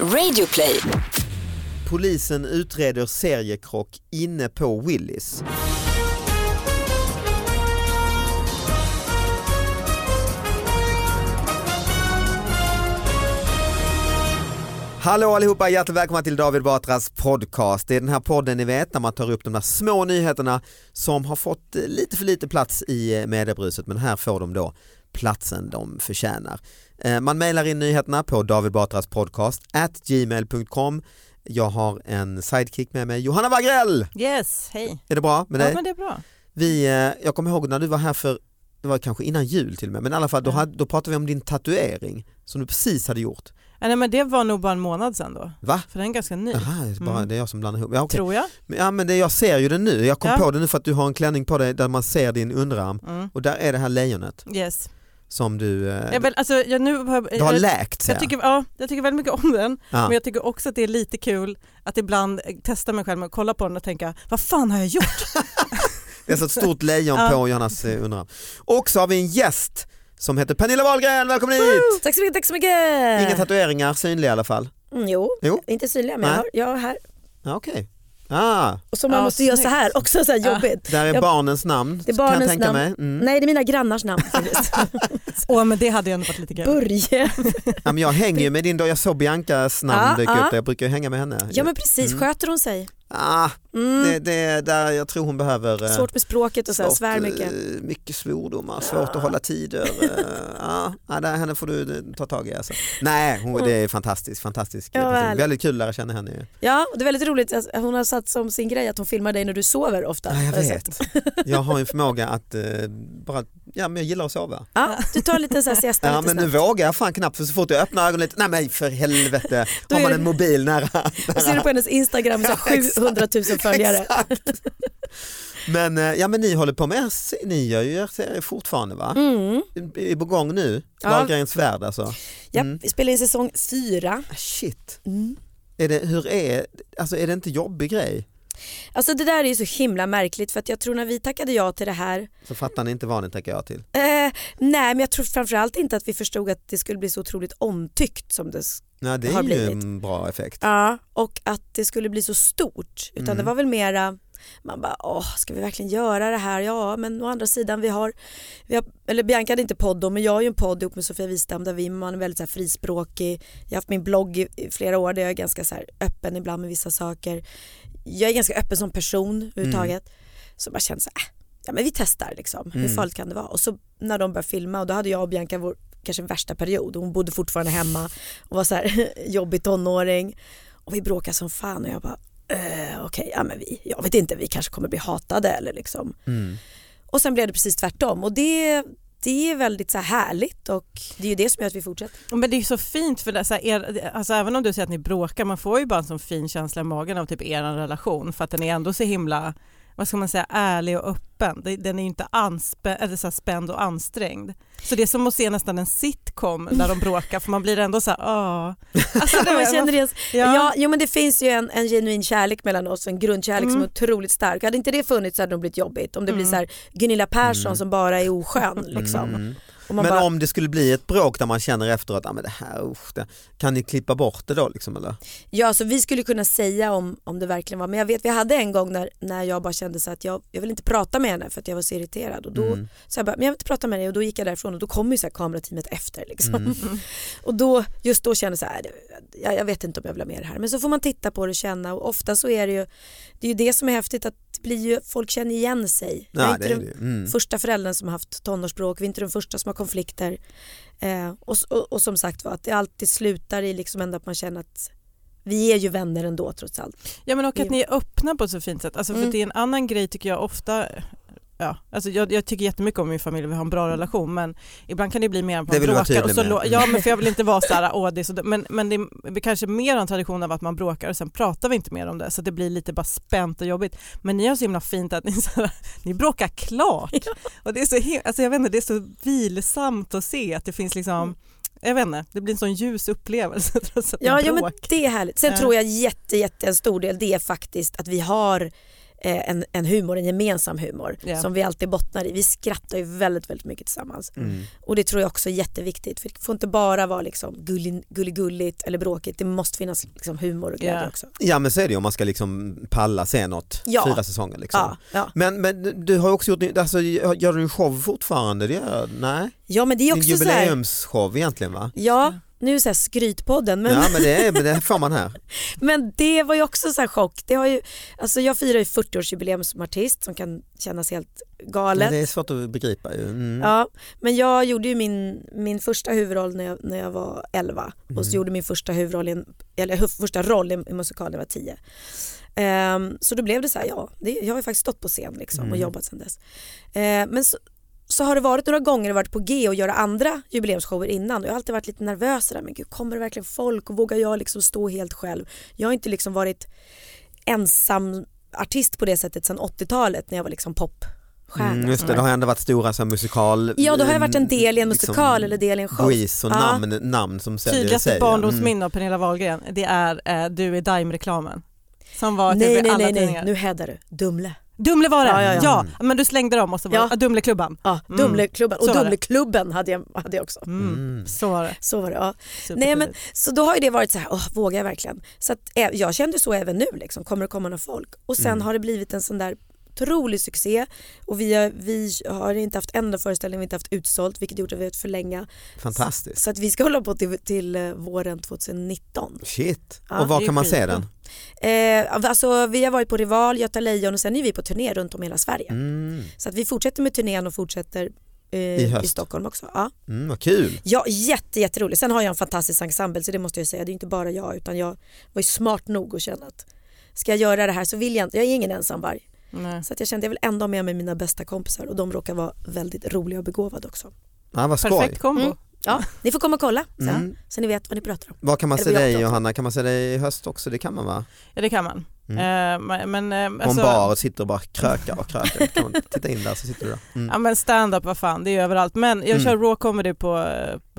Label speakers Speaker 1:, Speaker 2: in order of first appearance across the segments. Speaker 1: Radioplay.
Speaker 2: Polisen utreder seriekrock inne på Willys. Hallå allihopa, hjärtligt välkomna till David Batras podcast. Det är den här podden ni vet när man tar upp de där små nyheterna som har fått eh, lite för lite plats i eh, mediebruset men här får de då platsen de förtjänar. Eh, Man mejlar in nyheterna på David Batras podcast at gmail.com. Jag har en sidekick med mig, Johanna Wagrell!
Speaker 3: Yes, hej.
Speaker 2: Är det bra med dig?
Speaker 3: Ja men det är bra.
Speaker 2: Vi, eh, jag kommer ihåg när du var här för, det var kanske innan jul till och med, men i alla fall då,
Speaker 3: Mm.
Speaker 2: hade, då pratade vi om din tatuering som du precis hade gjort.
Speaker 3: Ja, nej men det var nog bara en månad sedan då.
Speaker 2: Va?
Speaker 3: För den är ganska ny,
Speaker 2: Aha, det är bara,
Speaker 3: Mm.
Speaker 2: det är jag som blandar ihop. Ja, okej.
Speaker 3: tror jag.
Speaker 2: Men- ja, men det, jag ser ju den nu, jag kom
Speaker 3: Ja.
Speaker 2: på det nu för att du har en klänning på dig där man ser din underarm
Speaker 3: Mm.
Speaker 2: och där är det här lejonet
Speaker 3: Yes.
Speaker 2: som du, eh,
Speaker 3: Jag, väl, alltså, jag, nu, har-
Speaker 2: du har
Speaker 3: jag,
Speaker 2: läkt ser
Speaker 3: jag, tycker, ja, jag tycker väldigt mycket om den,
Speaker 2: ja.
Speaker 3: men jag tycker också att det är lite kul att ibland eh, testa mig själv och kolla på den och tänka, vad fan har jag gjort?
Speaker 2: Det är så ett stort lejon
Speaker 3: Ja.
Speaker 2: på Johannas eh, underarm. Och så har vi en gäst som heter Pernilla Wahlgren, välkommen hit!
Speaker 4: Tack så mycket, tack så mycket.
Speaker 2: Inga tatueringar synliga i alla fall.
Speaker 4: mm, jo,
Speaker 2: Jo.
Speaker 4: inte synliga
Speaker 2: Nej.
Speaker 4: men jag har, jag har här.
Speaker 2: Ja, okej. Ah,
Speaker 4: Och så man
Speaker 3: Ja,
Speaker 4: måste göra så
Speaker 3: snyggt.
Speaker 4: här, också så här
Speaker 3: Ja.
Speaker 4: jobbigt.
Speaker 2: där är
Speaker 4: Jag-
Speaker 2: barnens namn
Speaker 4: Det är
Speaker 2: kan jag
Speaker 4: barnens
Speaker 2: tänka
Speaker 4: namn.
Speaker 2: mig. Mm.
Speaker 4: Nej det är mina grannars namn faktiskt.
Speaker 3: Åh men det hade ju ändå varit lite kul.
Speaker 4: Börje.
Speaker 2: Ja, men jag hänger ju med din då, jag såg Biancas namn
Speaker 4: Ja,
Speaker 2: dyka upp
Speaker 4: ja.
Speaker 2: där, jag brukar ju hänga med henne.
Speaker 4: Ah, Ja men precis,
Speaker 2: Mm.
Speaker 4: sköter hon sig?
Speaker 2: ah,
Speaker 4: Mm.
Speaker 2: det, det, där jag tror hon behöver eh,
Speaker 4: Svårt med språket och så här,
Speaker 2: svårt,
Speaker 4: svär mycket.
Speaker 2: eh, mycket svordomar, svårt att hålla tider. eh, ja, ja, där, henne får du eh, ta tag i. Alltså. Nej, hon, det är fantastiskt, fantastisk
Speaker 4: Mm. Ja,
Speaker 2: person.
Speaker 4: härligt.
Speaker 2: Väldigt kul att lära känna henne. ju.
Speaker 4: Ja, och det är väldigt roligt att hon har satt som sin grej att hon filmar dig när du sover ofta.
Speaker 2: Ja, jag
Speaker 4: Har sett.
Speaker 2: vet. Jag har en förmåga att eh, bara, ja men jag gillar att sova.
Speaker 4: Ja, du tar en liten så här siesta
Speaker 2: Ja
Speaker 4: lite
Speaker 2: men nu
Speaker 4: snabbt.
Speaker 2: vågar jag fan knappt för så fort jag öppnar ögonen lite, nej men för helvete,
Speaker 4: Då
Speaker 2: har
Speaker 4: är
Speaker 2: man
Speaker 4: det-
Speaker 2: en mobil nära.
Speaker 4: Och ser du på hennes Instagram så har
Speaker 2: Ja, exakt.
Speaker 4: 700 000 följare.
Speaker 2: Exakt. Men, eh, ja, men ni håller på med er, se- ni gör ju er serie fortfarande va?
Speaker 4: Mm.
Speaker 2: Är på gång nu?
Speaker 4: Ja.
Speaker 2: Wahlgrens värld alltså?
Speaker 4: Ja,
Speaker 2: Mm.
Speaker 4: vi spelar in säsong fyra.
Speaker 2: Ah, Shit,
Speaker 4: Mm.
Speaker 2: är det, hur är, alltså, är det inte jobbig grej?
Speaker 4: Alltså det där är ju så himla märkligt för att jag tror när vi tackade ja till det här
Speaker 2: Så fattar ni inte vad ni tackar jag till.
Speaker 4: Eh, nej men jag tror framförallt inte att vi förstod att det skulle bli så otroligt omtyckt som det sk-
Speaker 2: Nej, det
Speaker 4: Har
Speaker 2: är ju
Speaker 4: blivit.
Speaker 2: en bra effekt.
Speaker 4: ja. och att det skulle bli så stort. Utan
Speaker 2: Mm.
Speaker 4: det var väl mera, man bara åh ska vi verkligen göra det här? Ja men å andra sidan vi har, vi har eller Bianca hade inte podd då men jag har ju en podd ihop med Sofia Wistam där vi, man är väldigt så här frispråkig. Jag har haft min blogg i, i flera år där jag är ganska så här öppen ibland med vissa saker. Jag är ganska öppen som person överhuvudtaget. Så bara känns så här, äh, ja men vi testar liksom, hur
Speaker 2: Mm.
Speaker 4: farligt kan det vara? Och så när de började filma och då hade jag och Bianca vår kanske värsta period, hon bodde fortfarande hemma och var så här jobbig tonåring och vi bråkade som fan och jag bara eh, okej, ja men vi, jag vet inte, vi kanske kommer bli hatade eller liksom.
Speaker 2: Mm.
Speaker 4: Och sen blev det precis tvärtom och det, det är väldigt så här härligt och det är ju det som gör att vi fortsätter.
Speaker 3: Men det är ju så fint för det, så här, er, alltså, även om du säger att ni bråkar, man får ju bara en sån fin känsla i magen av typ er relation för att den är ändå så himla, vad ska man säga, ärlig och öppen. Det- Den är ju inte anspä, eller så här, spänd och ansträngd. Så det är som att se nästan en sitcom när de bråkar för man blir ändå så här, åh. Alltså, det-
Speaker 4: Man känner igen Ja.
Speaker 3: ja.
Speaker 4: jo men det finns ju en, en genuin kärlek mellan oss, en grundkärlek som är
Speaker 3: Mm.
Speaker 4: otroligt stark. Hade inte det funnits så hade det nog blivit jobbigt. Om det blir
Speaker 3: Mm.
Speaker 4: så här Gunilla Persson
Speaker 2: Mm.
Speaker 4: som bara är oskön. Liksom.
Speaker 2: Mm.
Speaker 4: Och man
Speaker 2: Men
Speaker 4: bara,
Speaker 2: om det skulle bli ett bråk där man känner efteråt, ah, men det här, usch, det, kan ni klippa bort det då? Liksom, eller?
Speaker 4: Ja så vi skulle kunna säga om, om det verkligen var, men jag vet vi hade en gång när, när jag bara kände så att jag, jag vill inte prata med henne för att jag var så irriterad. Och då,
Speaker 2: Mm.
Speaker 4: så jag bara, men jag vill inte prata med dig och då gick jag därifrån och då kom ju så här kamerateamet efter. Liksom.
Speaker 2: Mm.
Speaker 4: Och då, just då kände jag så här, "Äh, det- jag, jag vet inte om jag vill ha med det här. Men så får man titta på det och känna och ofta så är det ju, det är ju det som är häftigt att det blir ju, folk känner igen sig. Jag är
Speaker 2: Ja,
Speaker 4: inte
Speaker 2: det är
Speaker 4: den
Speaker 2: det. ju. Mm.
Speaker 4: första föräldern som har haft tonårsbråk, vi är inte den första som har konflikter. Eh, och, s- och, och som sagt var att det alltid slutar i liksom ändå att man känner att vi är ju vänner ändå trots allt.
Speaker 3: ja men och att ni är öppna på ett så fint sätt. Alltså, för
Speaker 4: Mm.
Speaker 3: Det är en annan grej tycker jag ofta, Ja, alltså jag, jag tycker jättemycket om min familj, vi har en bra relation men ibland kan det bli mer att
Speaker 2: Det
Speaker 3: man
Speaker 2: vill du vara
Speaker 3: bråkar. Och
Speaker 2: tydlig
Speaker 3: så
Speaker 2: med.
Speaker 3: lå- ja men för jag vill inte vara såhär, åh det är så dumt." men, men det är vi kanske mer har en tradition av att man bråkar och sen pratar vi inte mer om det så att det blir lite bara spänt och jobbigt. Men ni har så himla fint att ni, såhär, ni bråkar klart. Och det är så, him- alltså jag vet inte, det är så vilsamt att se att det finns
Speaker 4: Mm.
Speaker 3: liksom, jag vet inte, det blir en sån ljus upplevelse trots att
Speaker 4: Ja,
Speaker 3: ni
Speaker 4: ja men
Speaker 3: bråkar.
Speaker 4: det är härligt. Sen
Speaker 3: Ja.
Speaker 4: tror jag jätte, jätte en stor del det är faktiskt att vi har eh, en, en humor, en gemensam humor
Speaker 3: Ja.
Speaker 4: som vi alltid bottnar i. Vi skrattar ju väldigt, väldigt mycket tillsammans.
Speaker 2: Mm.
Speaker 4: Och det tror jag också är jätteviktigt. För det får inte bara vara liksom gullig- gulligulligt eller bråkigt. Det måste finnas liksom humor och glädje
Speaker 3: Ja.
Speaker 4: också.
Speaker 2: Ja men så är det ju om man ska liksom palla se något,
Speaker 4: Ja.
Speaker 2: fyra säsonger liksom.
Speaker 4: Ja, ja.
Speaker 2: Men, men du har ju också gjort, alltså, gör du en show fortfarande? Det gör, nej,
Speaker 4: ja men det är
Speaker 2: en
Speaker 4: också så här,
Speaker 2: jubileumsshow egentligen va?
Speaker 4: Ja, nu är så här skrytpodden men,
Speaker 2: Ja men det, är, men det får man här.
Speaker 4: men det var ju också så här chock. Det har ju, alltså jag firar ju 40-årsjubileum som artist som kan kännas helt
Speaker 2: Ja,
Speaker 4: galet.
Speaker 2: det är svårt att begripa ju. Mm.
Speaker 4: Ja, men jag gjorde ju min, min första huvudroll när jag, när jag var 11 och
Speaker 2: Mm.
Speaker 4: så gjorde min första huvudroll, i en, eller hu- första roll i en musikal när jag var 10. Ehm, så då blev det så här, ja, det, jag har ju faktiskt stått på scen liksom och
Speaker 2: Mm.
Speaker 4: jobbat sedan dess. Ehm, men så, så har det varit några gånger och varit på G och göra andra jubileumsshower innan och jag har alltid varit lite nervös där, men gud kommer det verkligen folk och vågar jag liksom stå helt själv? Jag har inte liksom varit ensam artist på det sättet sedan 80-talet när jag var liksom popstjärna.
Speaker 2: Mm, just det, det har ju ändå varit stora så här, musikal...
Speaker 4: Ja, då har jag varit en del i en
Speaker 2: liksom,
Speaker 4: musikal eller del i en show.
Speaker 2: Quiz och
Speaker 4: Ja.
Speaker 2: namn, namn som säljer sig,
Speaker 3: Tydligaste
Speaker 2: ja. Mm,
Speaker 3: barndomsminne av Pernilla Wahlgren det är eh, Du är Daim-reklamen. Som var
Speaker 4: Nej,
Speaker 3: typ i
Speaker 4: nej,
Speaker 3: alla
Speaker 4: nej, nej,
Speaker 3: tidningar.
Speaker 4: nu hädar du. Dumle.
Speaker 3: Dumle var det,
Speaker 4: Ja,
Speaker 3: ja,
Speaker 4: ja, ja.
Speaker 3: men du slängde dem och så var
Speaker 4: Ja.
Speaker 3: ja. Dumleklubban.
Speaker 4: Ja,
Speaker 3: Mm.
Speaker 4: Dumleklubben.
Speaker 3: Så
Speaker 4: Och
Speaker 3: var det.
Speaker 4: Dumleklubben hade jag, hade jag också.
Speaker 3: Mm.
Speaker 2: Mm.
Speaker 3: Så var det.
Speaker 4: Så var det. Ja. Nej,
Speaker 3: Supertidigt.
Speaker 4: men, så då har ju det varit så här, åh, vågar jag verkligen? Så att, eh, jag kände så även nu, liksom, kommer det komma några folk? Och sen
Speaker 2: Mm.
Speaker 4: har det blivit en sån där otrolig succé och vi har, vi har inte haft en enda föreställning, vi har inte haft utsålt vilket gjort att vi har fått förlänga.
Speaker 2: Fantastiskt.
Speaker 4: Så att vi ska hålla på till, till eh, våren 2019.
Speaker 2: Shit,
Speaker 4: Ja,
Speaker 2: och var
Speaker 3: det är
Speaker 2: kan man se
Speaker 3: skitbra.
Speaker 2: den?
Speaker 4: Eh, alltså, vi har varit på Rival, Göta Lejon och sen är vi på turné runt om i hela Sverige.
Speaker 2: Mm.
Speaker 4: Så att vi fortsätter med turnén och fortsätter eh, i,
Speaker 2: höst.
Speaker 4: Stockholm också. Ja.
Speaker 2: Mm, vad kul.
Speaker 4: Ja, jätte, jätteroligt. Sen har jag en fantastisk ensemble så det måste jag ju säga. Det är inte bara jag utan jag var ju smart nog att känna att ska jag göra det här så vill jag inte. Jag är ingen ensamvarg.
Speaker 3: Nej.
Speaker 4: Så att jag kände jag vill ändå ha med mig mina bästa kompisar och de råkar vara väldigt roliga och begåvade också.
Speaker 2: Ja, vad skoj.
Speaker 3: Perfekt kombo.
Speaker 4: Mm. Ja, ni får komma och kolla sen
Speaker 2: Mm.
Speaker 4: så ni vet vad ni pratar om.
Speaker 2: Var kan man
Speaker 4: Eller
Speaker 2: se
Speaker 4: jag
Speaker 2: dig
Speaker 4: pratar.
Speaker 2: Johanna? Kan man se dig i höst också? Det kan man va?
Speaker 3: Ja det kan man.
Speaker 2: Mm.
Speaker 3: Eh, men- men, eh,
Speaker 2: På en
Speaker 3: alltså-
Speaker 2: bar och sitter och bara krökar och krökar. Kan man titta in där så sitter du där. Mm.
Speaker 3: Ja men stand-up vad fan, det är ju överallt. Men jag
Speaker 2: Mm.
Speaker 3: kör raw comedy på,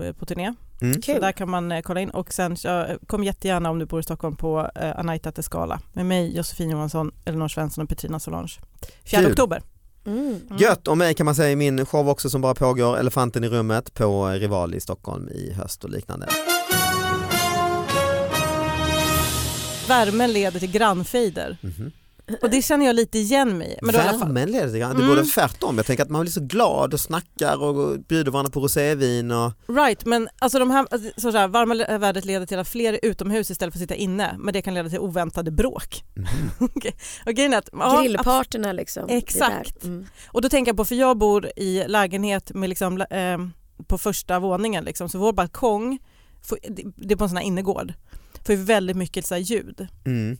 Speaker 3: eh, på turné,
Speaker 2: Mm.
Speaker 3: så där kan man eh, kolla in. Och sen kör, kom jättegärna om du bor i Stockholm på eh, Anaita Tescala med mig, Josefin Johansson, Elinor Svensson och Petrina Solange. 4
Speaker 2: Kul.
Speaker 3: oktober.
Speaker 4: Mm.
Speaker 3: Mm.
Speaker 2: Gött, och mig kan man säga i min show också som bara pågår, Elefanten i rummet på Rival i Stockholm i höst och liknande.
Speaker 3: Värmen leder till grannfejder.
Speaker 2: Mhm.
Speaker 3: Och det känner jag lite igen mig i. Men då i alla fall.
Speaker 2: Värmen leder till grann. Det
Speaker 3: Mm.
Speaker 2: borde vara tvärtom. Jag tänker att man blir så glad och snackar och bjuder varandra på rosévin och
Speaker 3: Right, men alltså de här, alltså, så här, varma le- vädret leder till att fler är utomhus istället för att sitta inne. Men det kan leda till oväntade bråk. Okej, Och grejen är att, ja,
Speaker 4: Grillparterna liksom. det är
Speaker 3: Exakt.
Speaker 4: där. Mm.
Speaker 3: Och då tänker jag på, för jag bor i lägenhet med liksom, eh, på första våningen liksom, så vår balkong, får, det- det är på en sån här innergård, får ju väldigt mycket så här ljud.
Speaker 2: mm.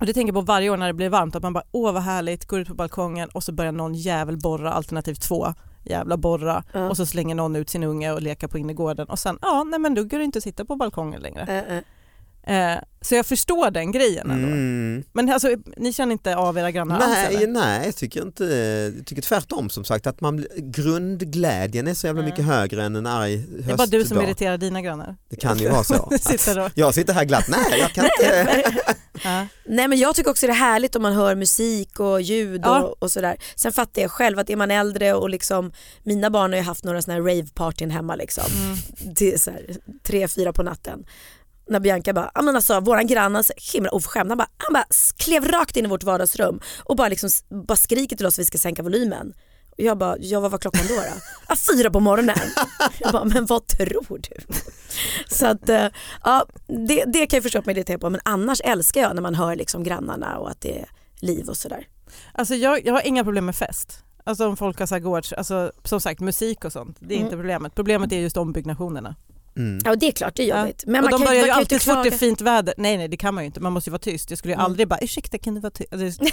Speaker 3: Och det tänker jag på varje år när det blir varmt, att man bara åh vad härligt, går ut på balkongen och så börjar någon jävel borra, alternativ två jävla borra
Speaker 4: Ja.
Speaker 3: och så slänger någon ut sin unge och leker på innergården och sen ja nej men då går det inte att sitta på balkongen längre.
Speaker 4: Eh, eh.
Speaker 3: Eh, så jag förstår den grejen ändå.
Speaker 2: Mm.
Speaker 3: Men alltså, ni känner inte av era grannar alls?
Speaker 2: Nej,
Speaker 3: eller?
Speaker 2: nej, jag tycker inte, jag tycker tvärtom som sagt att man, blir- grundglädjen är så jävla
Speaker 3: Mm.
Speaker 2: mycket högre än en arg höstdag.
Speaker 3: Det är bara du som irriterar dina grannar.
Speaker 2: Det kan ju vara så.
Speaker 3: Sitter och,
Speaker 2: Jag sitter här glatt, nej jag kan inte.
Speaker 3: ja.
Speaker 4: Nej men jag tycker också det är härligt om man hör musik och ljud
Speaker 3: Ja.
Speaker 4: och, och sådär. Sen fattar jag själv att är man äldre och liksom, mina barn har ju haft några sådana här ravepartyn hemma liksom.
Speaker 3: Mm.
Speaker 4: Till så här, tre, fyra på natten. När Bianca bara, ja men alltså våran grann han är så himla oförskämd, han bara, han bara s- klev rakt in i vårt vardagsrum och bara, liksom, s- bara skriker till oss att vi ska sänka volymen. Och jag bara, ja vad var klockan då? då? ah, fyra på morgonen. Jag bara, men vad tror du? Så att, eh, ja, det, det kan jag förstå att man irriterar på men annars älskar jag när man hör liksom grannarna och att det är liv och sådär.
Speaker 3: Alltså jag, jag har inga problem med fest. Alltså om folk har så här gårds, alltså som sagt musik och sånt, det är
Speaker 4: Mm.
Speaker 3: inte problemet. Problemet är just ombyggnationerna.
Speaker 2: Mm.
Speaker 4: Ja och det är klart det är jobbigt. Men
Speaker 3: och de
Speaker 4: man
Speaker 3: börjar ju
Speaker 4: kan
Speaker 3: alltid så fort det är
Speaker 4: klaga.
Speaker 3: fint väder. Nej nej det kan man ju inte, man måste ju vara tyst. Jag skulle ju
Speaker 4: Mm.
Speaker 3: aldrig bara ursäkta kan du vara tyst? Alltså,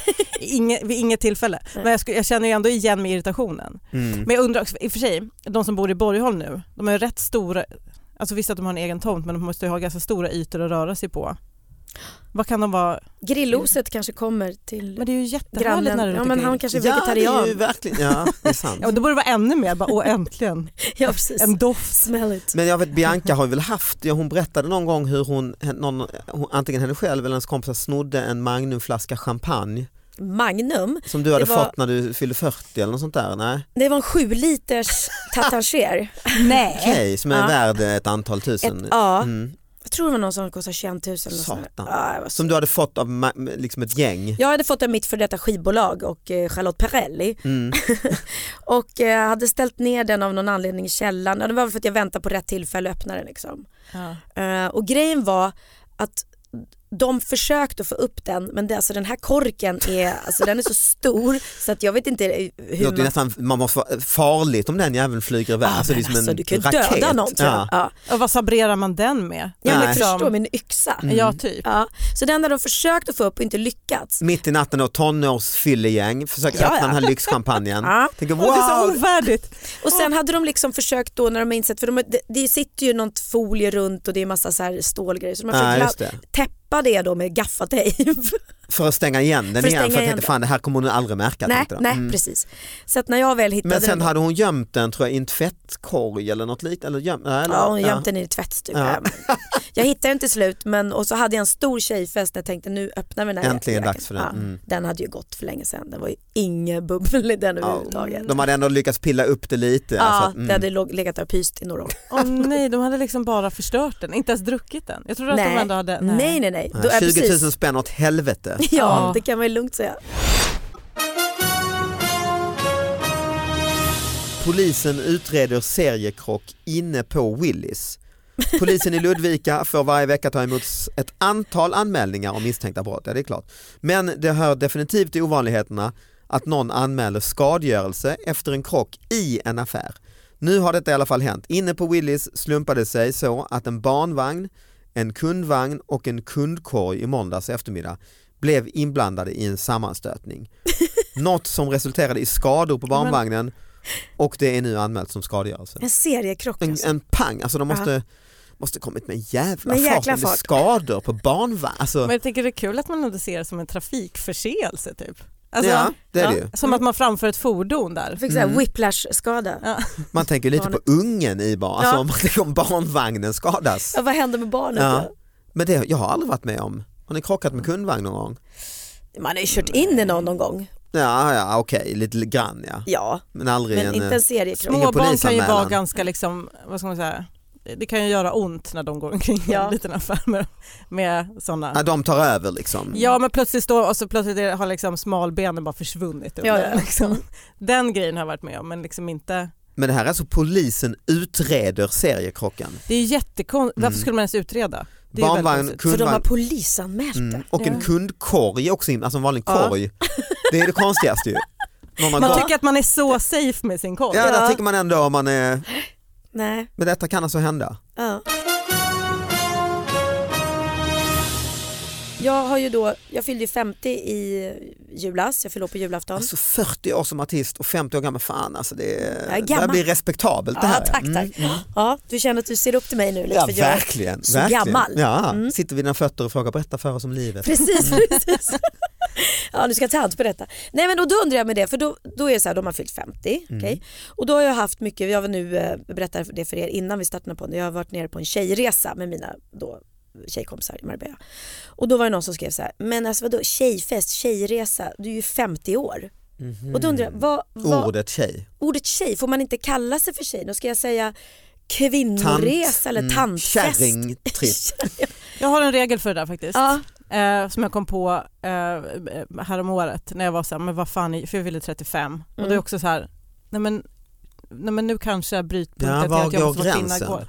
Speaker 3: inget, vid inget tillfälle. Men jag, skulle, jag känner ju ändå igen mig i irritationen.
Speaker 2: Mm.
Speaker 3: Men jag undrar också, i och för sig, de som bor i Borgholm nu, de har ju rätt stora, alltså visst att de har en egen tomt men de måste ju ha ganska stora ytor att röra sig på. Vad kan de vara?
Speaker 4: Grilloset kanske kommer till
Speaker 3: Men det är ju jättehärligt
Speaker 4: grannen.
Speaker 3: när det är
Speaker 4: Ja
Speaker 3: lite
Speaker 4: men
Speaker 3: grill.
Speaker 4: han kanske är
Speaker 2: Ja det är ju
Speaker 4: vegetarian.
Speaker 2: verkligen, ja det är sant.
Speaker 3: Ja, och då borde det vara ännu mer, bara, åh äntligen,
Speaker 4: Ja precis.
Speaker 3: en doft.
Speaker 4: Smell it.
Speaker 2: Men jag vet Bianca har ju väl haft, ja, hon berättade någon gång hur hon, någon, hon antingen henne själv eller hennes kompisar snodde en magnumflaska champagne
Speaker 4: Magnum.
Speaker 2: Som du hade
Speaker 4: Det var-
Speaker 2: fått när du fyllde 40 eller något sånt där? Nej,
Speaker 4: Det var en 7 liters Tatanger.
Speaker 2: okej,
Speaker 1: Nej.
Speaker 2: som är
Speaker 4: Ja.
Speaker 2: värd ett antal
Speaker 4: Ett,
Speaker 2: tusen.
Speaker 4: ja,
Speaker 2: Mm.
Speaker 4: jag tror det var någon som kostade 21 000. Och sånt.
Speaker 2: Satan.
Speaker 4: Ja, det var så-
Speaker 2: Som du hade fått av ma- liksom ett gäng?
Speaker 4: jag hade fått en mitt för detta skivbolag och eh, Charlotte Perrelli
Speaker 2: Mm.
Speaker 4: och eh, hade ställt ner den av någon anledning i källaren. Ja, Det var väl för att jag väntade på rätt tillfälle att öppna den. Liksom.
Speaker 3: Ja.
Speaker 4: Eh, och grejen var att de försökte få upp den men det, alltså, den här korken är, alltså, den är så stor så att jag vet inte eh,
Speaker 2: Det
Speaker 4: hur
Speaker 2: låter ju
Speaker 4: man...
Speaker 2: nästan man måste vara farligt om den jäveln flyger iväg.
Speaker 4: Ja,
Speaker 2: alltså, det är
Speaker 4: men
Speaker 2: som
Speaker 4: alltså,
Speaker 2: en
Speaker 4: du kan ju
Speaker 2: raket.
Speaker 4: döda någon tror jag.
Speaker 2: Ja.
Speaker 4: Ja.
Speaker 3: Och vad sabrerar man den med? Liksom-
Speaker 4: Ja, men
Speaker 2: Nej.
Speaker 4: förstå min yxa.
Speaker 2: Mm.
Speaker 3: Ja, typ.
Speaker 4: Ja. Så den där de försökt att få upp och inte lyckats.
Speaker 2: Mitt i natten och tonårsfyllegäng försöker
Speaker 4: Ja,
Speaker 2: öppna
Speaker 4: ja.
Speaker 2: den här lyxchampagnen.
Speaker 4: Ja.
Speaker 2: Tänker
Speaker 3: Och det är så
Speaker 2: wow,
Speaker 3: ovärdigt.
Speaker 4: Och sen hade de liksom försökt då när de har insett, för de, det, det sitter ju något folie runt och det är massa så här stålgrejer så de har
Speaker 2: Nej,
Speaker 4: försökt
Speaker 2: just
Speaker 4: la-
Speaker 2: det.
Speaker 4: täppa det då med gaffatejp.
Speaker 2: för att stänga igen den
Speaker 4: För att
Speaker 2: igen för
Speaker 4: stänga
Speaker 2: jag
Speaker 4: igen
Speaker 2: tänkte fan det här kommer hon aldrig märka.
Speaker 4: nej,
Speaker 2: tänkte de.
Speaker 4: nej Alltså,
Speaker 2: Mm.
Speaker 4: precis. Så att när jag väl hittade
Speaker 2: Men sen
Speaker 4: den,
Speaker 2: hade hon gömt den tror jag i en tvättkorg eller något liknande. Eller göm, nej, eller-
Speaker 4: ja, hon gömde den i tvättstugan.
Speaker 2: Ja.
Speaker 4: Jag hittade den till slut men, och så hade jag en stor tjejfest när jag tänkte nu öppnar vi den här
Speaker 2: Äntligen
Speaker 4: jackan.
Speaker 2: dags för den. Mm.
Speaker 4: den hade ju gått för länge sedan, den var ju ingen bubbel i den
Speaker 2: Ja.
Speaker 4: överhuvudtaget.
Speaker 2: De hade ändå lyckats pilla upp det lite.
Speaker 4: Ja,
Speaker 2: alltså, att, mm.
Speaker 4: det hade låg- legat där och pyst i några år.
Speaker 3: Åh nej, de hade liksom bara förstört den, inte ens druckit den. Jag trodde att de ändå hade...
Speaker 4: nej, nej, nej. nej. Då- ja,
Speaker 2: 20
Speaker 4: precis.
Speaker 2: 000 spänn åt helvete.
Speaker 4: Ja,
Speaker 3: Ja.
Speaker 4: det kan man ju lugnt säga.
Speaker 2: Polisen utreder seriekrock inne på Willys. Polisen i Ludvika får varje vecka ta emot ett antal anmälningar om misstänkta brott, ja det är klart. Men det hör definitivt till ovanligheterna att någon anmäler skadegörelse efter en krock i en affär. Nu har detta i alla fall hänt. Inne på Willys slumpade det sig så att en barnvagn, en kundvagn och en kundkorg i måndags eftermiddag blev inblandade i en sammanstötning. Något som resulterade i skador på barnvagnen och det är nu anmält som skadegörelse.
Speaker 4: En seriekrock
Speaker 2: En,
Speaker 4: alltså.
Speaker 2: en pang, alltså de måste, måste kommit med en jävla
Speaker 4: Med en
Speaker 2: fart,
Speaker 4: jäkla
Speaker 2: om det är
Speaker 4: fart.
Speaker 2: skador på barnvagn. Alltså,
Speaker 3: Men jag tycker det är kul att man ändå ser det som en trafikförseelse typ. Alltså,
Speaker 2: ja, det är det ju.
Speaker 3: Som att man framför ett fordon där.
Speaker 4: Jag fick såhär
Speaker 2: Mm.
Speaker 4: whiplash-skada.
Speaker 3: Ja.
Speaker 2: Man tänker lite på ungen i barn, alltså
Speaker 4: Ja.
Speaker 2: om, man tänker om barnvagnen skadas.
Speaker 4: Ja, vad hände med barnet
Speaker 2: Ja. Men det, jag har aldrig varit med om. Har ni krockat med kundvagn någon gång?
Speaker 4: då? Man har ju kört in i någon någon gång.
Speaker 2: Ja, ja okej, lite grann ja.
Speaker 4: Ja,
Speaker 2: Men aldrig
Speaker 4: men
Speaker 2: en...
Speaker 4: inte
Speaker 2: eh,
Speaker 4: en seriekrock.
Speaker 2: Ingen
Speaker 3: Små barn kan ju
Speaker 2: polisanmälan.
Speaker 3: vara ganska liksom, vad ska man säga, det kan ju göra ont när de går omkring i
Speaker 4: Ja.
Speaker 3: en liten affär med, med sådana.
Speaker 2: ja, de tar över liksom.
Speaker 3: Ja men plötsligt står och så plötsligt är- har liksom smalbenen bara försvunnit. under.
Speaker 4: Ja, ja.
Speaker 3: Liksom. Den grejen har jag varit med om men liksom inte.
Speaker 2: Men det här är alltså polisen utreder seriekrocken.
Speaker 3: Det är ju jättekonstigt, varför
Speaker 2: Mm.
Speaker 3: skulle man ens utreda? Det är ju väldigt
Speaker 2: Barnvagn,
Speaker 3: konstigt.
Speaker 4: För de har
Speaker 2: kundvagn
Speaker 4: polisanmält
Speaker 2: mm.
Speaker 4: det.
Speaker 2: och en
Speaker 3: Ja.
Speaker 2: kundkorg också, in, alltså en vanlig
Speaker 4: Ja.
Speaker 2: korg. Det är det konstigaste ju. Någon har
Speaker 3: Man
Speaker 2: gått-
Speaker 3: tycker att man är så safe med sin koll.
Speaker 2: Ja, där
Speaker 4: Ja.
Speaker 2: tycker man ändå om man är...
Speaker 4: Nej.
Speaker 2: Men detta kan alltså hända.
Speaker 4: Ja. Jag har ju då, jag fyllde ju 50 i julas, jag fyllde år på julafton.
Speaker 2: Alltså 40 år som artist och 50 år gammal, fan alltså det, är-
Speaker 4: Jag är
Speaker 2: det här
Speaker 4: gammal.
Speaker 2: blir respektabelt det
Speaker 4: Ja,
Speaker 2: här. Mm,
Speaker 4: tack, tack. Ja, du känner att du ser upp till mig nu lite.
Speaker 2: Ja,
Speaker 4: för jag,
Speaker 2: verkligen.
Speaker 4: så
Speaker 2: verkligen.
Speaker 4: gammal.
Speaker 2: Ja,
Speaker 4: Mm.
Speaker 2: Sitter vid dina fötter och frågar berätta för oss om livet.
Speaker 4: Precis, precis. Ja, nu ska jag ta hand på detta. Nej men och då undrar jag med det, för då, då är det så här, de har fyllt 50. okej? Och då har jag haft mycket, jag var nu, eh, berättar det för er innan vi startade på jag har varit nere på en tjejresa med mina då tjejkompisar i Marbella. Och då var det någon som skrev så här, men alltså vadå tjejfest, tjejresa, du är ju 50 år. Och då undrar jag, vad, vad,
Speaker 2: Ordet tjej.
Speaker 4: ordet tjej, får man inte kalla sig för tjej? Då ska jag säga kvinnoresa
Speaker 2: Mm.
Speaker 4: eller tantfest.
Speaker 2: Kärringtripp.
Speaker 3: Jag har en regel för det där faktiskt.
Speaker 4: Ja,
Speaker 3: Eh, som jag kom på eh, häromåret när jag var så här, men vad fan, är- för jag ville 35 och det är
Speaker 4: Mm.
Speaker 3: också så här, nej men, nej men nu kanske brytpunkten
Speaker 2: Ja, var går
Speaker 3: måste vara kvinna
Speaker 2: gränsen?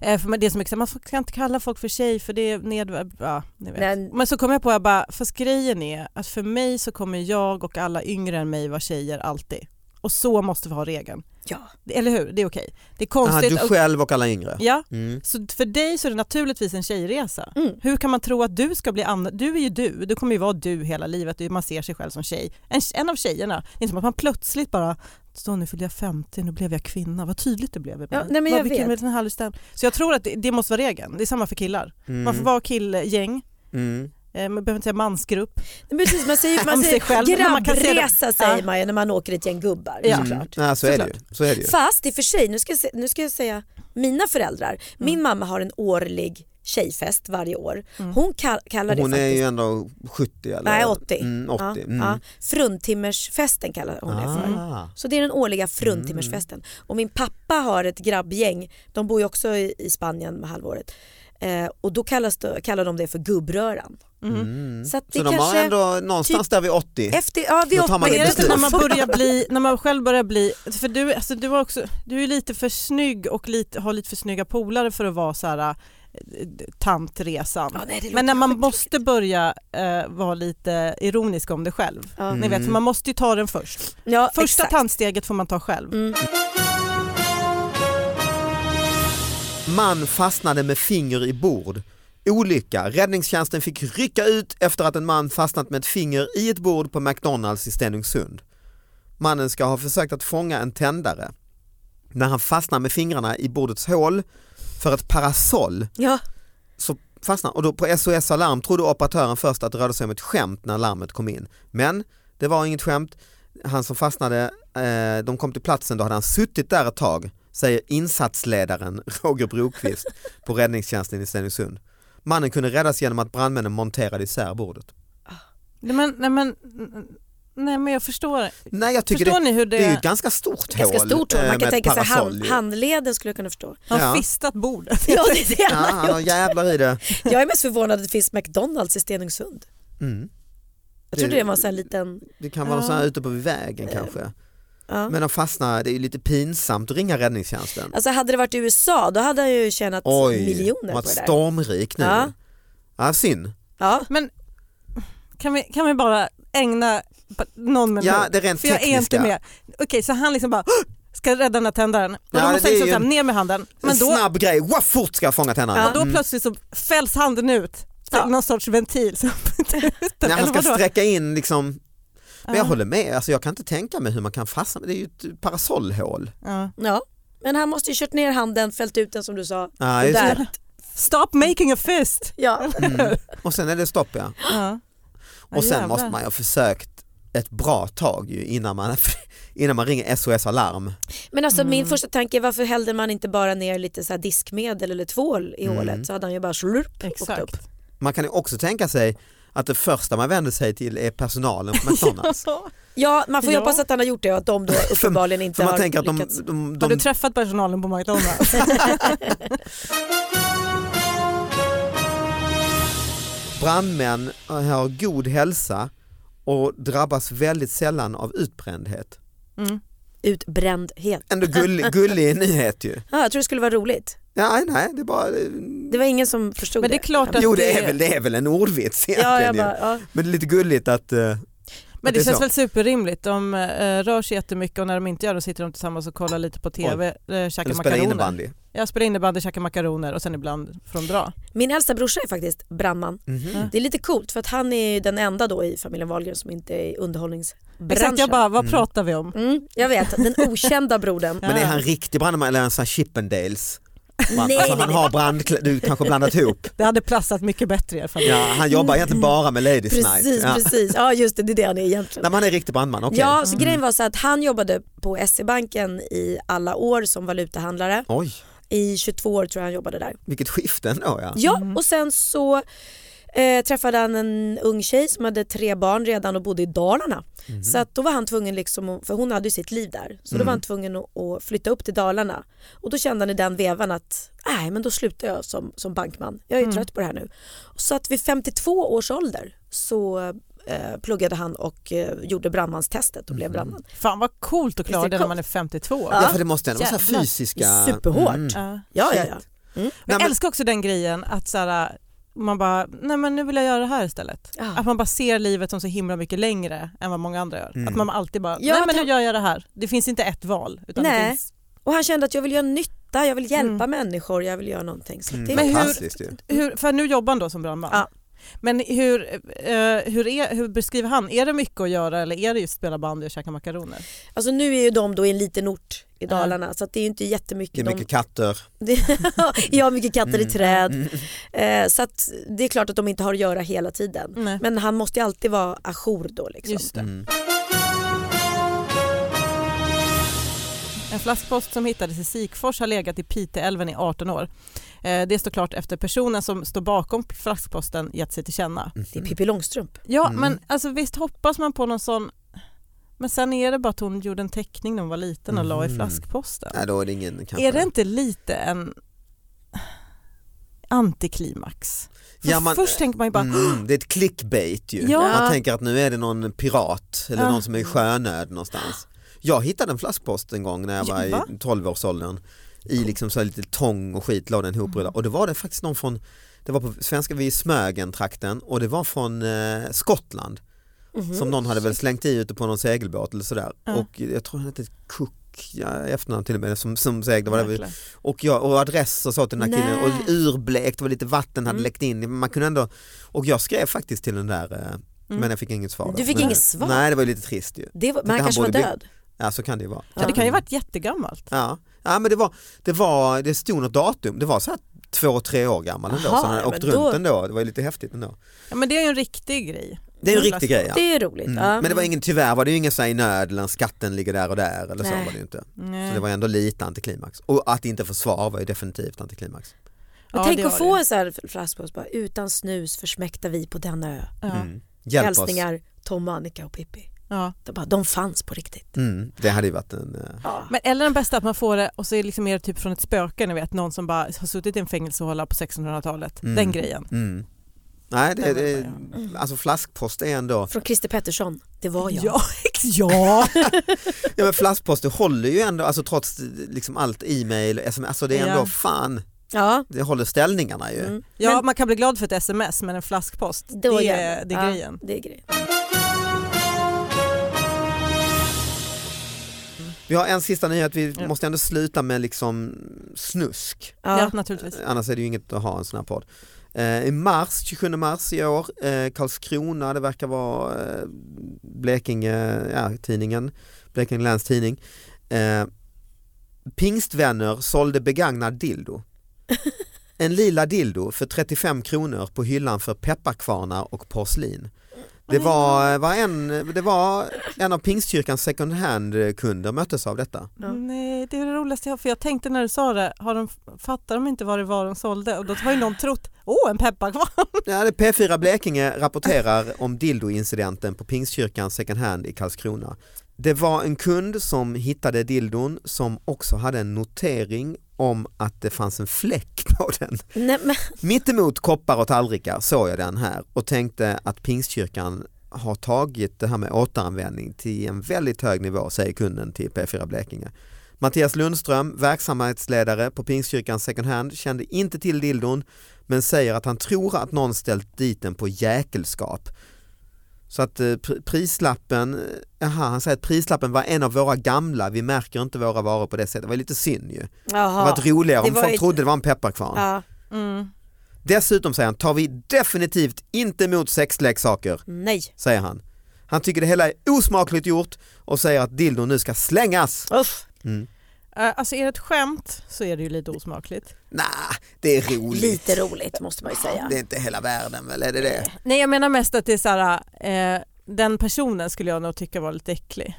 Speaker 3: Eh, för men det är så mycket så här, man får- kan inte kalla folk för tjej för det är ned... Ja, ni vet.
Speaker 4: Nej.
Speaker 3: Men så kom jag på, jag bara, fast grejen är att för mig så kommer jag och alla yngre än mig vara tjejer alltid. Och så måste vi ha regeln.
Speaker 4: ja.
Speaker 3: Eller hur? Det är okej. Det är
Speaker 2: Aha,
Speaker 3: konstigt.
Speaker 2: du
Speaker 3: och-
Speaker 2: själv och alla yngre.
Speaker 3: ja,
Speaker 2: Mm.
Speaker 3: så för dig så är det naturligtvis en tjejresa.
Speaker 4: Mm.
Speaker 3: Hur kan man tro att du ska bli annorlunda? Du är ju du, du kommer ju vara du hela livet. Man ser sig själv som tjej. En, en av tjejerna. Det är inte som att man plötsligt bara så nu fyllde jag 50, nu blev jag kvinna. Vad tydligt det blev. ibland.
Speaker 4: Ja, nej, men
Speaker 3: Vad-
Speaker 4: jag
Speaker 3: vilken,
Speaker 4: vet.
Speaker 3: vilken härlig stäm- Så jag tror att det, det måste vara regeln. Det är samma för killar.
Speaker 2: Mm.
Speaker 3: Man får vara killgäng,
Speaker 2: Mm.
Speaker 3: eh, man behöver inte säga mansgrupp.
Speaker 4: Men Precis, man säger, man
Speaker 3: Om sig
Speaker 4: säger
Speaker 3: själv, men man kan säga det.
Speaker 4: grabbresa säger
Speaker 3: Ja.
Speaker 4: man ju när man åker ett gäng gubbar.
Speaker 3: Ja.
Speaker 2: Mm.
Speaker 4: Såklart.
Speaker 2: Ja, så, är det ju.
Speaker 3: Såklart.
Speaker 2: så är det ju. Mm.
Speaker 4: Fast i och för sig, nu ska, jag, se- nu ska jag säga mina föräldrar. Min mamma har en årlig tjejfest varje år.
Speaker 3: Mm.
Speaker 4: Hon kall, kallar det
Speaker 2: Hon är
Speaker 4: faktiskt,
Speaker 2: ju ändå 70 eller?
Speaker 4: nej 80.
Speaker 2: Mm, 80.
Speaker 4: Ja,
Speaker 2: mm.
Speaker 4: ja. Fruntimmersfesten kallar hon det för.
Speaker 2: Ah.
Speaker 4: Så det är den årliga fruntimmersfesten. Och min pappa har ett grabbgäng, de bor ju också i, i Spanien med halvåret. Eh, och då kallas det, kallar de det för gubbröran.
Speaker 3: Mm.
Speaker 2: Mm.
Speaker 4: Så att det
Speaker 2: Så de har
Speaker 4: kanske-
Speaker 2: ändå någonstans där vid 80?
Speaker 4: Efter, ja, vid
Speaker 2: Då tar man
Speaker 3: Men
Speaker 2: det
Speaker 3: är det inte när man
Speaker 2: beslut.
Speaker 4: börjar
Speaker 3: börjar bli, när man själv börjar bli, för du, alltså, du, var också, du är lite för snygg och lite, har lite för snygga polare för att vara så här eh, tantresan.
Speaker 4: Ja, nej, det låter
Speaker 3: Men när man
Speaker 4: skittråkigt.
Speaker 3: måste börja eh, vara lite ironisk om det själv.
Speaker 4: Ja.
Speaker 3: Ni
Speaker 2: Mm.
Speaker 3: vet, för man måste ju ta den först.
Speaker 4: Ja,
Speaker 3: Första
Speaker 4: exakt.
Speaker 3: tandsteget får man ta själv.
Speaker 4: Mm.
Speaker 2: Man fastnade med finger i bord. Olycka. Räddningstjänsten fick rycka ut efter att en man fastnat med ett finger i ett bord på McDonalds i Stenungsund. Mannen ska ha försökt att fånga en tändare när han fastnar med fingrarna i bordets hål för ett parasoll
Speaker 4: Ja,
Speaker 2: så fastnar och då på SOS Alarm trodde operatören först att det rörde sig om ett skämt när larmet kom in. Men det var inget skämt. Han som fastnade, eh, de kom till platsen, då hade han suttit där ett tag, säger insatsledaren Roger Brokvist på räddningstjänsten i Stenungsund. Mannen kunde räddas genom att brandmännen monterade isär bordet.
Speaker 3: Nej, men, nej, men, nej men jag förstår.
Speaker 2: Nej jag tycker
Speaker 3: förstår
Speaker 2: det,
Speaker 3: ni hur
Speaker 2: det
Speaker 3: det,
Speaker 2: är ju ett ganska stort
Speaker 4: ganska
Speaker 2: hål.
Speaker 4: stort hål.
Speaker 2: eh,
Speaker 4: Man
Speaker 2: med
Speaker 4: kan
Speaker 2: ett
Speaker 4: tänka sig
Speaker 2: parasoll
Speaker 4: hand,
Speaker 2: ju.
Speaker 4: handleden skulle jag kunna förstå.
Speaker 3: har
Speaker 2: Ja.
Speaker 3: fistat bordet?
Speaker 4: Ja, det är det
Speaker 2: Ja,
Speaker 4: han har
Speaker 2: han har jävlar i det.
Speaker 4: gjort. Jag är mest förvånad att det finns McDonalds i Stenungsund.
Speaker 2: Mm.
Speaker 4: Jag trodde det var en sån här liten...
Speaker 2: Det kan vara någon
Speaker 3: Ja.
Speaker 2: sån här ute på vägen kanske.
Speaker 4: Ja.
Speaker 2: Men de fastnar, det är ju lite pinsamt att ringa räddningstjänsten.
Speaker 4: Alltså hade det varit i USA då hade han ju tjänat
Speaker 2: Oj,
Speaker 4: miljoner
Speaker 2: hon
Speaker 4: på
Speaker 2: var
Speaker 4: det där.
Speaker 2: stormrik nu. Ja.
Speaker 4: Ja.
Speaker 2: synd.
Speaker 4: Ja.
Speaker 3: Men kan vi, kan vi bara ägna pa- någon minut?
Speaker 2: Ja, det är rent
Speaker 3: För jag är
Speaker 2: tekniska.
Speaker 3: inte med. Okej, så han liksom bara ska rädda den här tändaren. Och
Speaker 2: Ja,
Speaker 3: då
Speaker 2: det
Speaker 3: måste
Speaker 2: är
Speaker 3: han liksom
Speaker 2: ju
Speaker 3: så här,
Speaker 2: en-
Speaker 3: ner med handen.
Speaker 2: En
Speaker 3: Men då,
Speaker 2: snabb grej, wow, fort ska jag fånga tänderna. Mm.
Speaker 3: och då plötsligt så fälls handen ut. Så
Speaker 4: Ja.
Speaker 3: Någon sorts ventil. som-
Speaker 2: Nej, han
Speaker 3: eller
Speaker 2: ska
Speaker 3: vadå?
Speaker 2: sträcka in liksom, men jag
Speaker 3: Ja.
Speaker 2: håller med, alltså, jag kan inte tänka mig hur man kan fastna, det är ju ett parasollhål.
Speaker 3: Ja.
Speaker 4: ja. Men han måste ju kört ner handen, fällt ut den som du sa.
Speaker 2: Ja,
Speaker 4: Och
Speaker 2: just det.
Speaker 4: där.
Speaker 3: Stop making a fist.
Speaker 4: Ja.
Speaker 2: Mm. Och sen är det stopp ja.
Speaker 3: Ja. Ja,
Speaker 2: Och sen
Speaker 3: jävlar.
Speaker 2: måste man ju ha försökt ett bra tag ju innan man, innan man ringer SOS Alarm.
Speaker 4: Men alltså min första tanke är varför hällde man inte bara ner lite så här diskmedel eller tvål i
Speaker 2: Mm.
Speaker 4: hålet så hade han ju bara slurp åkt upp.
Speaker 3: Exakt.
Speaker 2: Man kan ju också tänka sig att det första man vänder sig till är personalen på McDonalds.
Speaker 3: Alltså,
Speaker 4: Ja man får ju
Speaker 3: Ja.
Speaker 4: hoppas att han har gjort det och att de då uppenbarligen inte
Speaker 2: För man
Speaker 4: har
Speaker 2: tänker att de,
Speaker 4: lyckats.
Speaker 2: de,
Speaker 3: Har
Speaker 2: de,
Speaker 3: du träffat personalen på McDonalds?
Speaker 2: Brandmän eh, har god hälsa och drabbas väldigt sällan av utbrändhet.
Speaker 3: Mm.
Speaker 4: Utbrändhet.
Speaker 2: Ändå gull, gullig nyhet ju.
Speaker 4: Ja, jag tror det skulle vara roligt.
Speaker 2: Nej, nej, det är bara...
Speaker 4: Det var ingen som förstod
Speaker 3: Men det är klart att-
Speaker 2: Jo, det är, väl, det är väl en ordvits
Speaker 4: Ja, jag
Speaker 2: egentligen. ju.
Speaker 4: bara, ja.
Speaker 2: Men det är lite gulligt att... eh,
Speaker 3: Men
Speaker 2: att
Speaker 3: det
Speaker 2: är
Speaker 3: känns
Speaker 2: så.
Speaker 3: väl superrimligt. De eh, rör sig jättemycket och när de inte gör det sitter de tillsammans och kollar lite på TV, eh, käkar
Speaker 2: Eller spela
Speaker 3: makaroner.
Speaker 2: innebandy.
Speaker 3: Jag spelar innebandy, käkar makaroner och sen ibland från dra.
Speaker 4: Min äldsta brorsa är faktiskt brandman.
Speaker 2: Mhm.
Speaker 3: Mm.
Speaker 4: Det är lite coolt för att han är ju den enda då i familjen Wahlgren som inte är i underhållningsbranschen.
Speaker 3: Exakt, jag bara, vad
Speaker 2: Mm.
Speaker 3: pratar vi om?
Speaker 4: mm, jag vet, den okända brodern.
Speaker 2: Men är han riktig brandman eller är han sån här Chippendales?
Speaker 4: Nej,
Speaker 2: Brand, alltså,
Speaker 4: nej,
Speaker 2: han har brandkläder, du kanske blandat ihop.
Speaker 3: Det hade platsat mycket bättre i alla fall.
Speaker 2: Ja, han jobbar egentligen bara med Ladies Night.
Speaker 4: Precis,
Speaker 2: Ja.
Speaker 4: precis. Ja just det, det är det han är egentligen.
Speaker 2: Nej, men han är riktig brandman, okej.
Speaker 4: Ja,
Speaker 3: Mm.
Speaker 4: så grejen var så att han jobbade på SE-banken i alla år som valutahandlare.
Speaker 2: Oj,
Speaker 4: I 22 år tror jag han jobbade där.
Speaker 2: vilket skifte ändå ja.
Speaker 4: Ja,
Speaker 3: Mm.
Speaker 4: och sen så eh, träffade han en ung tjej som hade tre barn redan och bodde i Dalarna.
Speaker 3: Mm.
Speaker 4: Så att då var han tvungen, liksom, att- för hon hade ju sitt liv där, så då var han tvungen att, att flytta upp till Dalarna. Och då kände han i den vevan att, nej men då slutar jag som, som bankman, jag är
Speaker 3: Mm.
Speaker 4: ju trött på det här nu. Så att vid 52 års ålder så eh, pluggade han och eh, gjorde brandmanstestet och
Speaker 3: Mm.
Speaker 4: blev brandman.
Speaker 3: Fan vad coolt att klara
Speaker 4: Visst är
Speaker 3: det
Speaker 4: det
Speaker 3: när man är 52.
Speaker 2: Ja, för det måste ändå vara så här
Speaker 3: Jävlar.
Speaker 2: fysiska...
Speaker 4: Superhårt.
Speaker 2: Mm.
Speaker 3: Ja.
Speaker 4: Ja, ja, ja.
Speaker 3: Men jag
Speaker 2: Nej, men-
Speaker 3: älskar också den grejen att så här, man bara, nej men nu vill jag göra det här istället.
Speaker 4: Ja.
Speaker 3: Att man bara ser livet som så himla mycket längre än vad många andra gör.
Speaker 2: Mm.
Speaker 3: Att man alltid bara,
Speaker 4: Ja,
Speaker 3: nej men
Speaker 4: ta-
Speaker 3: nu gör jag det här. Det finns inte ett val. Utan Det
Speaker 4: Nej.
Speaker 3: finns...
Speaker 4: Och han kände att jag vill göra nytta, jag vill hjälpa människor, jag vill göra någonting. Så det,
Speaker 2: Mm,
Speaker 3: Mm. Men hur-
Speaker 2: fantastiskt ju.
Speaker 3: Hur, för nu jobbar han då som brandman.
Speaker 4: Ja.
Speaker 3: Men hur, eh, hur, är, hur beskriver han, är det mycket att göra eller är det just spela bandy och käka makaroner?
Speaker 4: Alltså nu är ju de då i en liten ort i Dalarna så att det är ju inte
Speaker 2: Det är
Speaker 4: jättemycket.
Speaker 2: mycket katter.
Speaker 4: De, jag har mycket katter
Speaker 2: Mm.
Speaker 4: i träd.
Speaker 2: Mm.
Speaker 4: Eh, så att det är klart att de inte har att göra hela tiden.
Speaker 3: Nej.
Speaker 4: Men han måste ju alltid vara Mm. ajour då. Liksom.
Speaker 3: Just det.
Speaker 2: Mm.
Speaker 3: En En flaskpost som hittades i Sikfors har legat i Piteälven i 18 år. Eh, Det står klart efter personen som står bakom flaskposten gett sig till känna.
Speaker 4: Det är Pippi Långstrump.
Speaker 3: Ja,
Speaker 2: Mm.
Speaker 3: men alltså, visst hoppas man på någon sån... Men sen är det bara att hon gjorde en teckning när hon var liten och la i
Speaker 2: Mhm.
Speaker 3: flaskposten.
Speaker 2: Nej, då är det ingen kanske.
Speaker 3: Är det inte lite en antiklimax? För
Speaker 2: Ja, man-
Speaker 3: först tänker man ju bara,
Speaker 2: Mm, det är ett clickbait ju.
Speaker 3: Ja.
Speaker 2: Man tänker att nu är det någon pirat eller
Speaker 3: Ja.
Speaker 2: någon som är i sjönöd någonstans. Jag hittade en flaskpost en gång när jag
Speaker 3: Ja,
Speaker 2: var
Speaker 3: va?
Speaker 2: i 12-årsåldern i liksom så här lite tång och skit la den
Speaker 3: Mm.
Speaker 2: ihoprullad och det var det faktiskt någon från, det var på svenska vid Smögen trakten och det var från eh, Skottland
Speaker 4: Mm.
Speaker 2: som någon hade väl slängt i ute på någon segelbåt eller sådär
Speaker 3: Ja.
Speaker 2: och jag tror han hette Cook ja, i efternamn till och med som, som seglade, var det
Speaker 3: verkligen.
Speaker 2: och, jag, och adress och så till den här killen
Speaker 4: Nej.
Speaker 2: och urblekt och lite vatten hade
Speaker 3: Mm.
Speaker 2: läckt in. Men Man kunde ändå, och jag skrev faktiskt till den där eh, men jag fick inget svar. då.
Speaker 4: Mm. Du fick
Speaker 2: men,
Speaker 4: inget svar?
Speaker 2: Nej det var ju lite trist ju.
Speaker 4: Det var, men
Speaker 2: Tänkte
Speaker 4: han
Speaker 2: han
Speaker 4: kanske var
Speaker 2: borde bli-
Speaker 4: död.
Speaker 2: Ja så kan det ju vara.
Speaker 3: Ja, det kan ju varit jättegammalt.
Speaker 2: Ja, ja men det var, det var, det stod något datum, det var så här två, tre år gammal ändå.
Speaker 4: Jaha,
Speaker 2: så han hade
Speaker 4: ja,
Speaker 2: åkt
Speaker 4: men då-
Speaker 2: runt ändå, det var ju lite häftigt ändå.
Speaker 3: Ja, men det är ju en riktig grej.
Speaker 2: Det är ju en
Speaker 3: Mm.
Speaker 2: riktig grej ja.
Speaker 4: Det är roligt.
Speaker 2: Mm.
Speaker 4: Ja.
Speaker 2: Men det var ingen, tyvärr var det ju ingen så här i nöd eller skatten ligger där och där eller så
Speaker 4: Nej.
Speaker 2: var det ju inte. Så
Speaker 3: Nej. Mm.
Speaker 2: det var ändå lite antiklimax. Och att inte få svar var ju definitivt antiklimax.
Speaker 4: Men
Speaker 3: Ja,
Speaker 4: tänk
Speaker 3: det
Speaker 4: att
Speaker 3: var
Speaker 4: få
Speaker 3: det.
Speaker 4: en sån här flaskpost bara, utan snus försmäktar vi på denna ö.
Speaker 3: Ja.
Speaker 2: Mm. Hjälp oss.
Speaker 4: Hälsningar Tom, Annika och Pippi.
Speaker 3: Ja.
Speaker 4: De, bara, de fanns på riktigt.
Speaker 2: Mm. Det hade ju varit en eh,
Speaker 4: Ja.
Speaker 3: Men, eller den bästa att man får det och så är det liksom mer typ från ett spöke, ni vet någon som bara har suttit i en fängelsehåla på 1600-talet.
Speaker 2: Mm.
Speaker 3: Den grejen.
Speaker 2: Mm. Nej, det,
Speaker 3: Den var
Speaker 2: det,
Speaker 3: bra,
Speaker 2: alltså flaskpost är ändå,
Speaker 4: Från Christer Pettersson, det var jag.
Speaker 3: Ja, ex- ja.
Speaker 2: ja, men flaskpost det håller ju ändå, alltså trots liksom allt e-mail, sms, alltså det är ändå
Speaker 3: Ja.
Speaker 2: fan,
Speaker 4: Ja. det
Speaker 2: det håller ställningarna ju.
Speaker 4: Mm.
Speaker 3: ja
Speaker 4: Men-
Speaker 3: man kan bli glad för ett sms men en flaskpost, det
Speaker 4: Då
Speaker 3: är,
Speaker 4: jävlar.
Speaker 3: det
Speaker 4: Ja,
Speaker 3: är grejen.
Speaker 4: Det är grejen.
Speaker 2: Vi har en sista nyhet, vi
Speaker 3: Ja.
Speaker 2: måste ändå sluta med liksom snusk,
Speaker 3: Ja,
Speaker 4: Ja.
Speaker 3: naturligtvis.
Speaker 2: annars är det ju inget att ha en sån här podd. Eh, I mars, 27 mars i år, eh, Karlskrona, det verkar vara eh, Blekinge, ja, tidningen, Blekinge Läns Tidning. Eh, Pingstvänner sålde begagnad dildo. En lila dildo för 35 kronor på hyllan för pepparkvarnar och porslin. Det var, var, en, det var en av Pingstkyrkans second hand-kunder möttes av detta.
Speaker 4: Ja.
Speaker 3: Nej, det är det roligaste jag har, för jag tänkte när du sa det, har de, fattar de inte vad det var de sålde? Och då har ju någon trott, åh en pepparkvarn!
Speaker 2: Ja, det är P4 Blekinge rapporterar om dildo-incidenten på Pingstkyrkan second hand i Karlskrona. Det var en kund som hittade dildon som också hade en notering om att det fanns en fläck på den.
Speaker 4: Nej, men,
Speaker 2: Mittemot koppar och tallrikar såg jag den här och tänkte att Pingstkyrkan har tagit det här med återanvändning till en väldigt hög nivå, säger kunden till P4 Blekinge. Mattias Lundström, verksamhetsledare på Pingstkyrkan second hand, kände inte till dildon men säger att han tror att någon ställt dit den på jäkelskap. Så att eh, pr- prislappen, eh, aha, han säger att prislappen var en av våra gamla, vi märker inte våra varor på det sättet. Det var lite synd ju. Det
Speaker 4: jaha.
Speaker 2: hade varit roligare
Speaker 4: Det
Speaker 2: om
Speaker 4: var
Speaker 2: folk
Speaker 4: ett-
Speaker 2: trodde det var en pepparkvarn.
Speaker 4: ja.
Speaker 3: Mm.
Speaker 2: Dessutom säger han, tar vi definitivt inte emot sexleksaker,
Speaker 4: Nej.
Speaker 2: säger han. Han tycker det hela är osmakligt gjort och säger att dildon nu ska slängas.
Speaker 4: Uff.
Speaker 2: Mm.
Speaker 3: Eh, Alltså är det ett skämt så är det ju lite osmakligt.
Speaker 2: Nej, det är roligt.
Speaker 4: Lite roligt måste man ju säga.
Speaker 2: Det är inte hela världen väl, är det det?
Speaker 3: Nej jag menar mest att det är så här, eh, den personen skulle jag nog tycka var lite äcklig.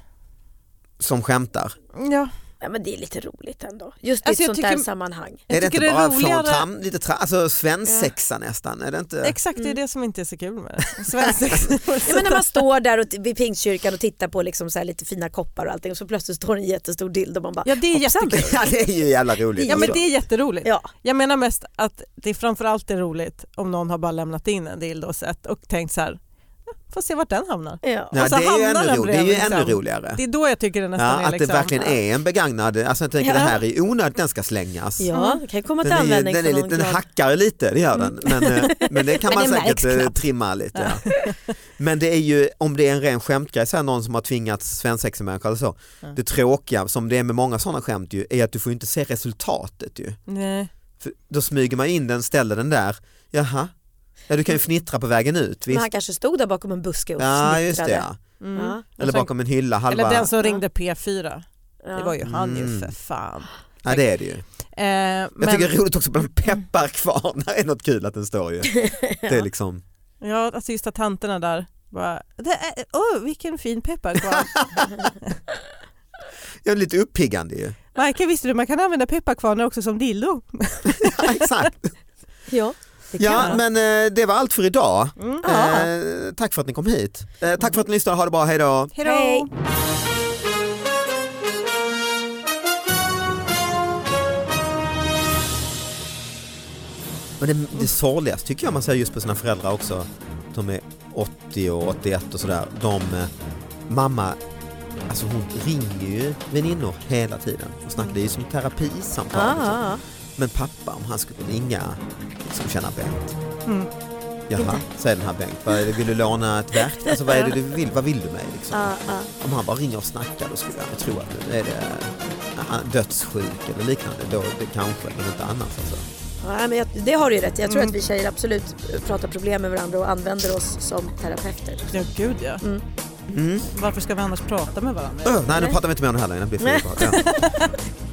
Speaker 2: Som skämtar.
Speaker 3: Ja,
Speaker 4: Ja, men det är lite roligt ändå. Just i
Speaker 3: Alltså, jag
Speaker 4: ett sånt
Speaker 3: tycker-
Speaker 4: där sammanhang.
Speaker 3: Jag
Speaker 2: är det inte
Speaker 3: tycker det är
Speaker 2: bara från
Speaker 3: roligare-
Speaker 2: tram, lite tra, alltså svensexa nästan? Är det inte?
Speaker 3: Exakt, det är
Speaker 4: Mm.
Speaker 3: det som inte är så kul med det. Svensex.
Speaker 4: Ja, men när man står där och t- vid pingstkyrkan och tittar på liksom så här lite fina koppar och allting och så plötsligt står en jättestor dildo och man bara
Speaker 3: ja, det är
Speaker 4: Hoppsan.
Speaker 3: jättekul.
Speaker 2: ja det är ju jävla roligt.
Speaker 3: Ja, men
Speaker 2: alltså.
Speaker 3: det är jätteroligt.
Speaker 4: ja.
Speaker 3: Jag menar mest att det framförallt är roligt om någon har bara lämnat in en dildo och sett och tänkt så här, "Ja, får se vart den hamnar.
Speaker 4: ja.
Speaker 2: Ja,
Speaker 3: och så
Speaker 2: det är ju
Speaker 3: hamnar
Speaker 2: ännu,
Speaker 3: den
Speaker 2: ro, det är ju
Speaker 3: bredvid,
Speaker 2: ännu
Speaker 3: alltså, liksom.
Speaker 2: roligare.
Speaker 3: Det är då jag tycker det nästan
Speaker 2: Ja,
Speaker 3: är
Speaker 2: att det
Speaker 3: liksom,
Speaker 2: verkligen är en begagnad, alltså jag tänker
Speaker 4: Ja.
Speaker 2: det här är onödigt, den ska slängas.
Speaker 4: ja, det kan ju komma till
Speaker 2: Den, är, ju-
Speaker 4: användning
Speaker 2: den, är
Speaker 4: för
Speaker 2: lite,
Speaker 4: någon
Speaker 2: den
Speaker 4: glad. Mm.
Speaker 2: hackar lite, det gör den. Men, eh, men det kan
Speaker 4: Men
Speaker 2: man
Speaker 4: det
Speaker 2: säkert
Speaker 4: märks
Speaker 2: eh,
Speaker 4: knappt.
Speaker 2: trimma lite. Ja. Men det är ju, om det är en ren skämtgrej, så här någon som har tvingats svensexemänniska eller så.
Speaker 3: Ja.
Speaker 2: Det tråkiga som det är med många sådana skämt ju, är att du får ju inte se resultatet ju.
Speaker 3: Nej.
Speaker 2: För då smyger man in den, ställer den där, jaha, ja, du kan ju fnittra på vägen ut.
Speaker 4: Men
Speaker 2: Visst?
Speaker 4: han kanske stod där bakom en buske och
Speaker 2: Ja just det
Speaker 4: snittrade.
Speaker 2: ja.
Speaker 3: Mm.
Speaker 4: Ja.
Speaker 2: Eller
Speaker 3: Och sen-
Speaker 2: bakom en hylla halva.
Speaker 3: Eller den som
Speaker 4: Ja.
Speaker 3: ringde P4.
Speaker 4: Ja.
Speaker 3: Det var ju han
Speaker 2: Mm.
Speaker 3: ju för fan.
Speaker 2: Ja det är det ju.
Speaker 3: Eh,
Speaker 2: Jag
Speaker 3: men-
Speaker 2: tycker det är roligt också
Speaker 4: Mm.
Speaker 2: bland pepparkvarnar, är något kul att den står ju. Det är liksom,
Speaker 3: Ja, alltså just att tanterna där bara, det är, oh, vilken fin pepparkvarn.
Speaker 2: ja, lite uppiggande ju.
Speaker 3: Michael, visste du man kan använda pepparkvarnar också som dildo?
Speaker 2: Ja, Exakt.
Speaker 4: Ja.
Speaker 3: Det kan
Speaker 2: Ja,
Speaker 3: man.
Speaker 2: men eh, det var allt för idag.
Speaker 3: Mm.
Speaker 4: Ja.
Speaker 2: Eh, tack för att ni kom hit. Eh, tack för att ni lyssnade. Ha det bra. Hej då.
Speaker 3: Hejdå!
Speaker 4: Hej.
Speaker 2: Men det, det sorgligaste tycker jag man ser just på sina föräldrar också. De är 80 och 81 och sådär. De, eh, mamma, alltså hon ringer ju väninnor hela tiden och snackar. Det är ju som terapisamtal.
Speaker 4: Ja,
Speaker 2: liksom.
Speaker 4: ja,
Speaker 2: Men pappa, om han skulle ringa, skulle känna Bengt.
Speaker 3: Mm.
Speaker 2: Jaha, säger den här Bengt. Vad är det, vill du låna ett verk? Alltså, vad är det du vill? Vad vill du mig? Liksom?
Speaker 4: ja, ja.
Speaker 2: Om han bara ringer och snackar då skulle jag tro att nu är det eh, dödssjuk eller liknande. Då det kanske, men inte annars alltså.
Speaker 4: Ja, men jag, det har du ju rätt i. Jag tror att vi tjejer absolut pratar problem med varandra och använder oss som terapeuter.
Speaker 3: Ja, gud ja.
Speaker 2: Mm.
Speaker 3: Varför ska vi annars prata med varandra?
Speaker 2: Öh, nej, nu pratar vi inte mer om det här längre. Det blir för
Speaker 4: Nej.
Speaker 2: uppenbart. ja.